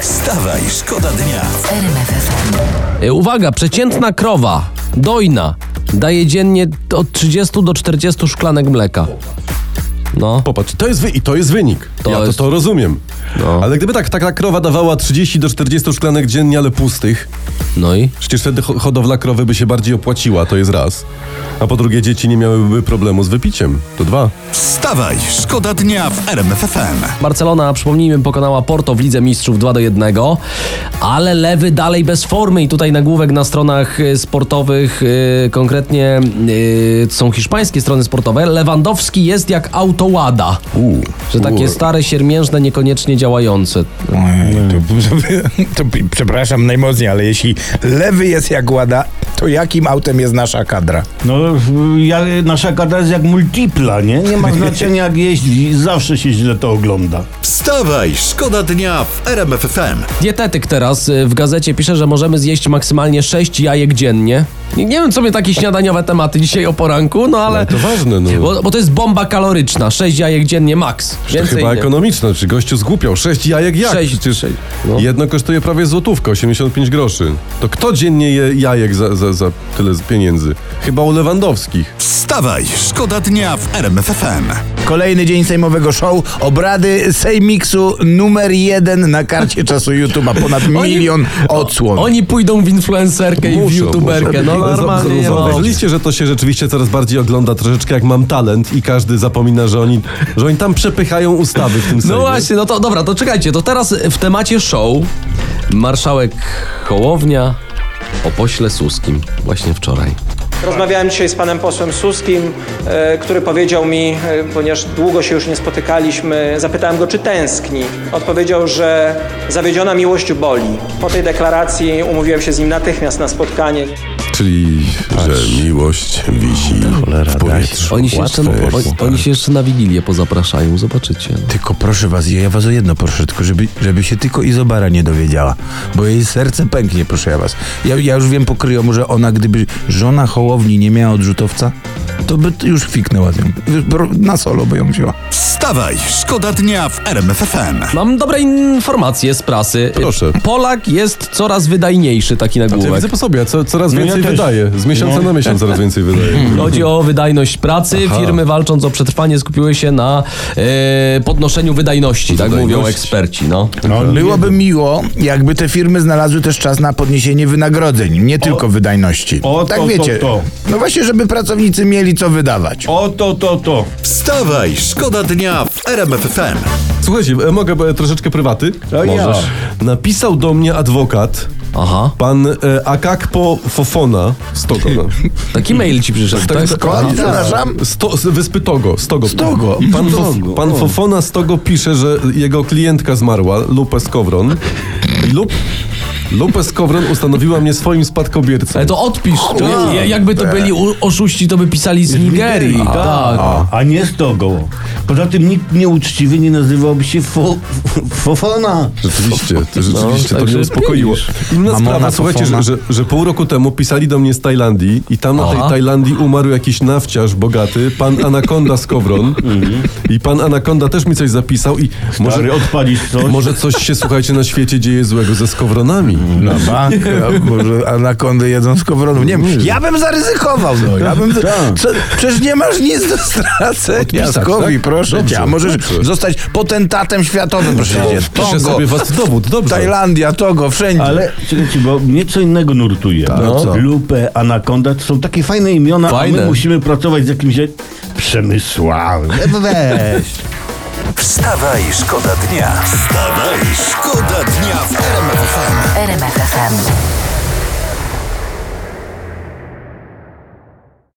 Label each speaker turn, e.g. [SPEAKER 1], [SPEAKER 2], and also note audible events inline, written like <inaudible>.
[SPEAKER 1] Wstawaj, szkoda dnia.
[SPEAKER 2] E, Uwaga, przeciętna krowa, dojna, daje dziennie od 30 do 40 szklanek mleka. No,
[SPEAKER 3] Popatrz, to jest, wy, i to jest wynik.
[SPEAKER 2] To
[SPEAKER 3] ja
[SPEAKER 2] jest- No.
[SPEAKER 3] to, to rozumiem. Ale gdyby tak, taka krowa dawała 30 do 40 szklanek dziennie, ale pustych,
[SPEAKER 2] no i?
[SPEAKER 3] przecież wtedy ho- hodowla krowy by się bardziej opłaciła, to jest raz. A po drugie, dzieci nie miałyby problemu z wypiciem, to dwa.
[SPEAKER 1] Wstawaj, szkoda dnia w RMFFM.
[SPEAKER 2] Barcelona, przypomnijmy, pokonała Porto w Lidze Mistrzów 2 do 1, ale lewy dalej bez formy i tutaj nagłówek na stronach y, sportowych, y, konkretnie y, to są hiszpańskie strony sportowe. Lewandowski jest jak autołada,
[SPEAKER 3] Uuu.
[SPEAKER 2] że takie stare, siermiężne, niekoniecznie działające.
[SPEAKER 4] Ojej, <laughs> To, to, to, przepraszam najmocniej, ale jeśli lewy jest jak łada, to jakim autem jest nasza kadra?
[SPEAKER 5] No, w- ja, nasza kadra jest jak multipla, nie? Nie
[SPEAKER 2] <laughs>
[SPEAKER 5] ma znaczenia jak jeździ, zawsze się źle to ogląda.
[SPEAKER 1] Wstawaj, szkoda dnia w RMFFM.
[SPEAKER 2] Dietetyk teraz y, w gazecie pisze, że możemy zjeść maksymalnie 6 jajek dziennie. Nie, nie wiem, co mnie takie śniadaniowe tematy dzisiaj o poranku, no ale...
[SPEAKER 3] Ale to ważne, no.
[SPEAKER 2] Bo, bo to jest bomba kaloryczna, 6 jajek dziennie max.
[SPEAKER 3] To
[SPEAKER 2] Więcej
[SPEAKER 3] chyba
[SPEAKER 2] nie.
[SPEAKER 3] ekonomiczne, czy gościu zgłupiał. Sześć jajek jak?
[SPEAKER 2] Sześć,
[SPEAKER 3] Przecież
[SPEAKER 2] sześć, no.
[SPEAKER 3] jedno kosztuje prawie złotówkę, 85 groszy. To kto dziennie je jajek za, za, za tyle pieniędzy? Chyba u Lewandowskich.
[SPEAKER 1] Wstawaj, szkoda dnia w RMFFM.
[SPEAKER 4] Kolejny dzień sejmowego show, obrady Sejmiksu numer jeden na karcie czasu YouTube, a ponad
[SPEAKER 2] Oni-
[SPEAKER 4] milion odsłon.
[SPEAKER 2] Oni pójdą w influencerkę i w
[SPEAKER 3] Muszą,
[SPEAKER 2] youtuberkę.
[SPEAKER 3] muszą.
[SPEAKER 2] No
[SPEAKER 3] Ale
[SPEAKER 2] normalnie
[SPEAKER 3] zau-
[SPEAKER 2] nie
[SPEAKER 3] zau-
[SPEAKER 2] ma.
[SPEAKER 3] Zauważyliście, że to się rzeczywiście coraz bardziej ogląda troszeczkę jak mam talent i każdy zapomina, że oni, że oni tam przepychają ustawy w tym
[SPEAKER 2] No
[SPEAKER 3] Sejmie.
[SPEAKER 2] właśnie, no to dobra, to czekajcie, to teraz y, w temacie show marszałek Hołownia o pośle Suskim właśnie wczoraj.
[SPEAKER 6] Rozmawiałem dzisiaj z panem posłem Suskim, e, który powiedział mi, e, ponieważ długo się już nie spotykaliśmy, zapytałem go, czy tęskni. Odpowiedział, że zawiedziona miłość boli. Po tej deklaracji umówiłem się z nim natychmiast na spotkanie.
[SPEAKER 3] Czyli, że miłość wisi
[SPEAKER 2] No
[SPEAKER 3] w powietrzu.
[SPEAKER 2] Oni się, jeszcze, oni, oni się jeszcze na Wigilię pozapraszają, zobaczycie. no.
[SPEAKER 4] Tylko proszę was, ja was o jedno proszę, tylko żeby, żeby się tylko Izobara nie dowiedziała, bo jej serce pęknie, proszę ja was. Ja, ja już wiem po kryjomu, że ona gdyby żona Hołowni nie miała odrzutowca, to by t- już fiknęła z nią. Na solo by ją wzięła.
[SPEAKER 1] Wstawaj, szkoda dnia w RMFFM.
[SPEAKER 2] Mam dobre informacje z prasy.
[SPEAKER 3] Proszę.
[SPEAKER 2] Polak jest coraz wydajniejszy, taki
[SPEAKER 3] Ja
[SPEAKER 2] nagłówek.
[SPEAKER 3] widzę po sobie, co, coraz
[SPEAKER 5] No ja
[SPEAKER 3] więcej
[SPEAKER 5] też.
[SPEAKER 3] wydaje. Z miesiąca
[SPEAKER 5] No.
[SPEAKER 3] na miesiąc coraz więcej
[SPEAKER 2] <laughs>
[SPEAKER 3] wydaje.
[SPEAKER 2] Chodzi o wydajność pracy. Firmy walcząc o przetrwanie skupiły się na e, podnoszeniu wydajności, tak
[SPEAKER 3] Wydajności.
[SPEAKER 2] mówią eksperci. No.
[SPEAKER 4] Byłoby miło, jakby te firmy znalazły też czas na podniesienie wynagrodzeń, nie tylko wydajności.
[SPEAKER 5] o,
[SPEAKER 4] tak
[SPEAKER 5] to, to,
[SPEAKER 4] wiecie.
[SPEAKER 5] to.
[SPEAKER 4] No właśnie, żeby pracownicy mieli co wydawać.
[SPEAKER 5] O to, to, to.
[SPEAKER 1] Wstawaj, szkoda dnia w RMFFM.
[SPEAKER 3] Słuchajcie, e, mogę e, troszeczkę prywaty?
[SPEAKER 5] Możesz.
[SPEAKER 3] Napisał do mnie adwokat,
[SPEAKER 2] Aha.
[SPEAKER 3] pan e, Akakpo Fofona z Togona.
[SPEAKER 2] Taki mail ci przyszedł, tak?
[SPEAKER 4] Skąd? No, Przepraszam?
[SPEAKER 3] Sto, z wyspy Togo. Stogo.
[SPEAKER 4] Stogo.
[SPEAKER 3] Pan, Fof, pan Fofona z Togo pisze, że jego klientka zmarła, Lupes Kowron. Lup, Lupes Kowron ustanowiła mnie swoim spadkobiercą.
[SPEAKER 2] Ale E, to odpisz. To, ja- jakby to byli u- oszuści, to by pisali z Nigerii.
[SPEAKER 5] Nigerii,
[SPEAKER 2] Tak.
[SPEAKER 5] A nie z tego. Poza tym nikt nieuczciwy nie nazywałby się fo, f- Fofona.
[SPEAKER 3] Rzeczywiście, to, rzeczywiście to
[SPEAKER 2] No, także
[SPEAKER 3] mnie uspokoiło. Inna
[SPEAKER 4] Mamona
[SPEAKER 3] sprawa, słuchajcie,
[SPEAKER 4] Fofona.
[SPEAKER 3] że, że, że pół roku temu pisali do mnie z Tajlandii i tam na tej
[SPEAKER 2] Aha.
[SPEAKER 3] Tajlandii umarł jakiś nawciarz bogaty, pan Anakonda z Kowron. I pan Anakonda też mi coś zapisał i może,
[SPEAKER 5] Może odpalić coś.
[SPEAKER 3] może coś się, słuchajcie, na świecie dzieje złego ze Skowronami.
[SPEAKER 4] Na bank, a może tak. anakondy jedzą z kowronów. Nie wiem. Ja bym zaryzykował. No. Ja bym, co, przecież nie masz nic do stracenia.
[SPEAKER 3] Odpisać,
[SPEAKER 4] Jaskowi,
[SPEAKER 3] tak?
[SPEAKER 4] proszę
[SPEAKER 3] Dobrze,
[SPEAKER 4] cię. A możesz
[SPEAKER 3] dobrze.
[SPEAKER 4] zostać potentatem światowym, proszę cię.
[SPEAKER 3] Piszę
[SPEAKER 4] Togo,
[SPEAKER 3] sobie was w dowód, dobrze.
[SPEAKER 4] Tajlandia, Togo, wszędzie.
[SPEAKER 5] Ale czekajcie, bo mnie co innego nurtuje.
[SPEAKER 4] No co?
[SPEAKER 5] Lupę, Anakonda to są takie fajne imiona, a
[SPEAKER 2] Fajne.
[SPEAKER 5] my musimy pracować z jakimś jak- Przemysławem.
[SPEAKER 2] <laughs>
[SPEAKER 4] Weź.
[SPEAKER 1] Wstawaj, szkoda dnia. Wstawaj, szkoda dnia w RMFFM.